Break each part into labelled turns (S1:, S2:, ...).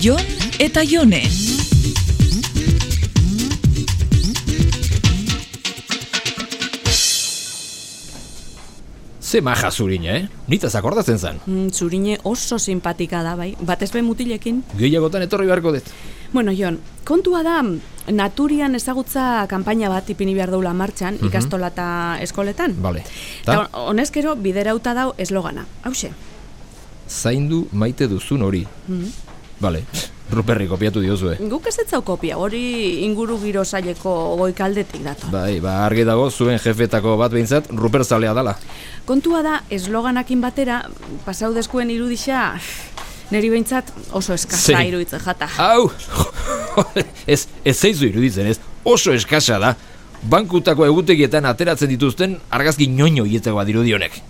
S1: Jon eta Jone.
S2: Ze maja zurina, eh? Nitaz akordatzen zen.
S3: Mm, zurine oso simpatika da, bai, batez be mutilekin.
S2: Gehiagotan etorri beharko dut.
S3: Bueno, Jon, kontua da, naturian ezagutza kanpaina bat ipini behar daula martxan, ikastola eta eskoletan.
S2: Bale. Ta,
S3: Ta honezkero biderauta dau eslogana. Hauxe.
S2: zaindu maite duzun hori. Bale, ruperri kopiatu diozue.
S3: Guk ez etzau kopia, hori inguru giro saileko goikaldetik dator.
S2: Bai, ba, argi dago zuen jefetako bat behintzat ruper zalea dala.
S3: Kontua da, esloganakin batera, pasau deskuen irudisa, neri behintzat oso eskasa
S2: Zein?
S3: iruditzen jata.
S2: Au! ez, ez zaizu iruditzen ez, oso eskasa da. Bankutako egutegietan ateratzen dituzten argazki ñoño hieteko bat irudionek.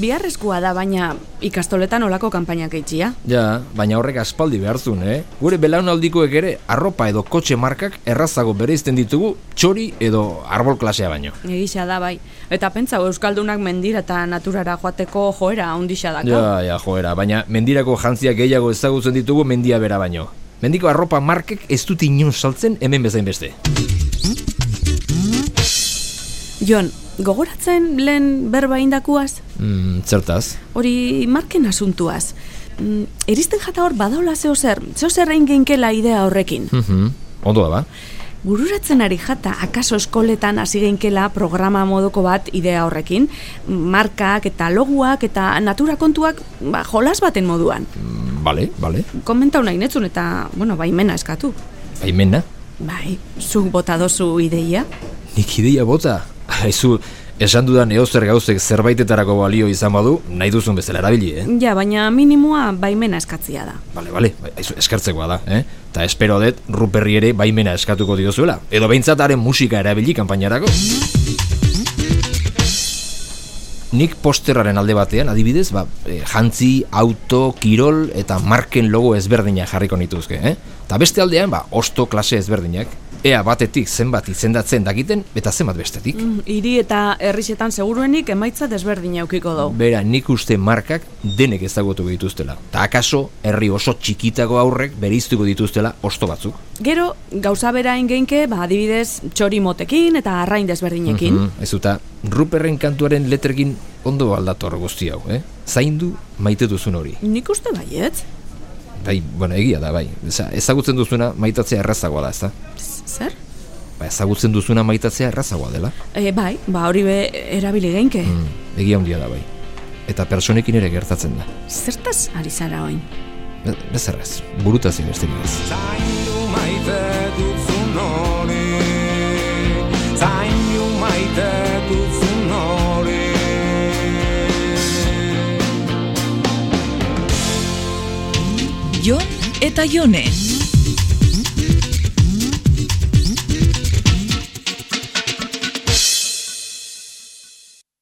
S3: Biharrezkoa da, baina ikastoletan olako kanpainak eitxia.
S2: Ja, baina horrek aspaldi behartzun, eh? Gure belaunaldikoek ere arropa edo kotxe markak errazago bereizten ditugu txori edo arbol klasea baino.
S3: Egisa da, bai. Eta pentsa, Euskaldunak mendira eta naturara joateko joera ondisa daka.
S2: Ja, ja, joera, baina mendirako jantziak gehiago ezagutzen ditugu mendia bera baino. Mendiko arropa markek ez dut inon saltzen hemen bezain beste.
S3: Jon, gogoratzen lehen berba indakuaz,
S2: Mm, zertaz?
S3: hori marken asuntuaz. Mm, eristen jata hor badaula zeo zer, zeo zer egin geinkela idea horrekin.
S2: Mhm, Ondo da, ba?
S3: Bururatzen ari jata, akaso eskoletan hasi geinkela programa modoko bat idea horrekin, markak eta loguak eta natura kontuak ba, jolas baten moduan.
S2: Mm, Bale, bale.
S3: Komentau nahi netzun eta, bueno, baimena eskatu.
S2: Baimena?
S3: Bai, zuk bota dozu ideia.
S2: Nik ideia bota. Aizu, esan dudan eozer gauzek zerbaitetarako balio izan badu, nahi duzun bezala erabili, eh?
S3: Ja, baina minimoa baimena eskatzia da.
S2: Bale, bale, bai, aizu, eskertzekoa da, eh? Ta espero dut Ruperri ere baimena eskatuko diozuela. Edo behintzat haren musika erabili kanpainarako. Nik posterraren alde batean, adibidez, ba, eh, jantzi, auto, kirol eta marken logo ezberdinak jarriko nituzke, eh? Ta beste aldean, ba, osto klase ezberdinak. Ea batetik zenbat izendatzen dakiten eta zenbat bestetik.
S3: Mm, Hiri eta herrixetan seguruenik emaitza desberdin aukiko dugu.
S2: Bera, nik uste markak denek ezagutu dituztela. Ta akaso, herri oso txikitako aurrek bereiztuko dituztela osto batzuk.
S3: Gero, gauza bera ingeinke, ba, adibidez, txori motekin eta arrain desberdinekin.
S2: Mhm, ez eta Ruperren kantuaren letrekin ondo aldator guzti hau, eh? Zaindu maite duzun hori.
S3: Nik uste baietz.
S2: Bai, bueno, egia da, bai. Eza, ezagutzen duzuna maitatzea errazagoa da, ez da?
S3: Z- Zer?
S2: Ba, ezagutzen duzuna maitatzea errazagoa dela.
S3: E, bai, ba hori be erabili geinke.
S2: Mm, egia handia da, bai. Eta personekin ere gertatzen da.
S3: Zertaz ari zara oin?
S2: Be bezerrez, burutazio besterik ez.
S4: Zaindu maite duzun hori Zaindu maite duzun hori
S1: Jon eta Jone.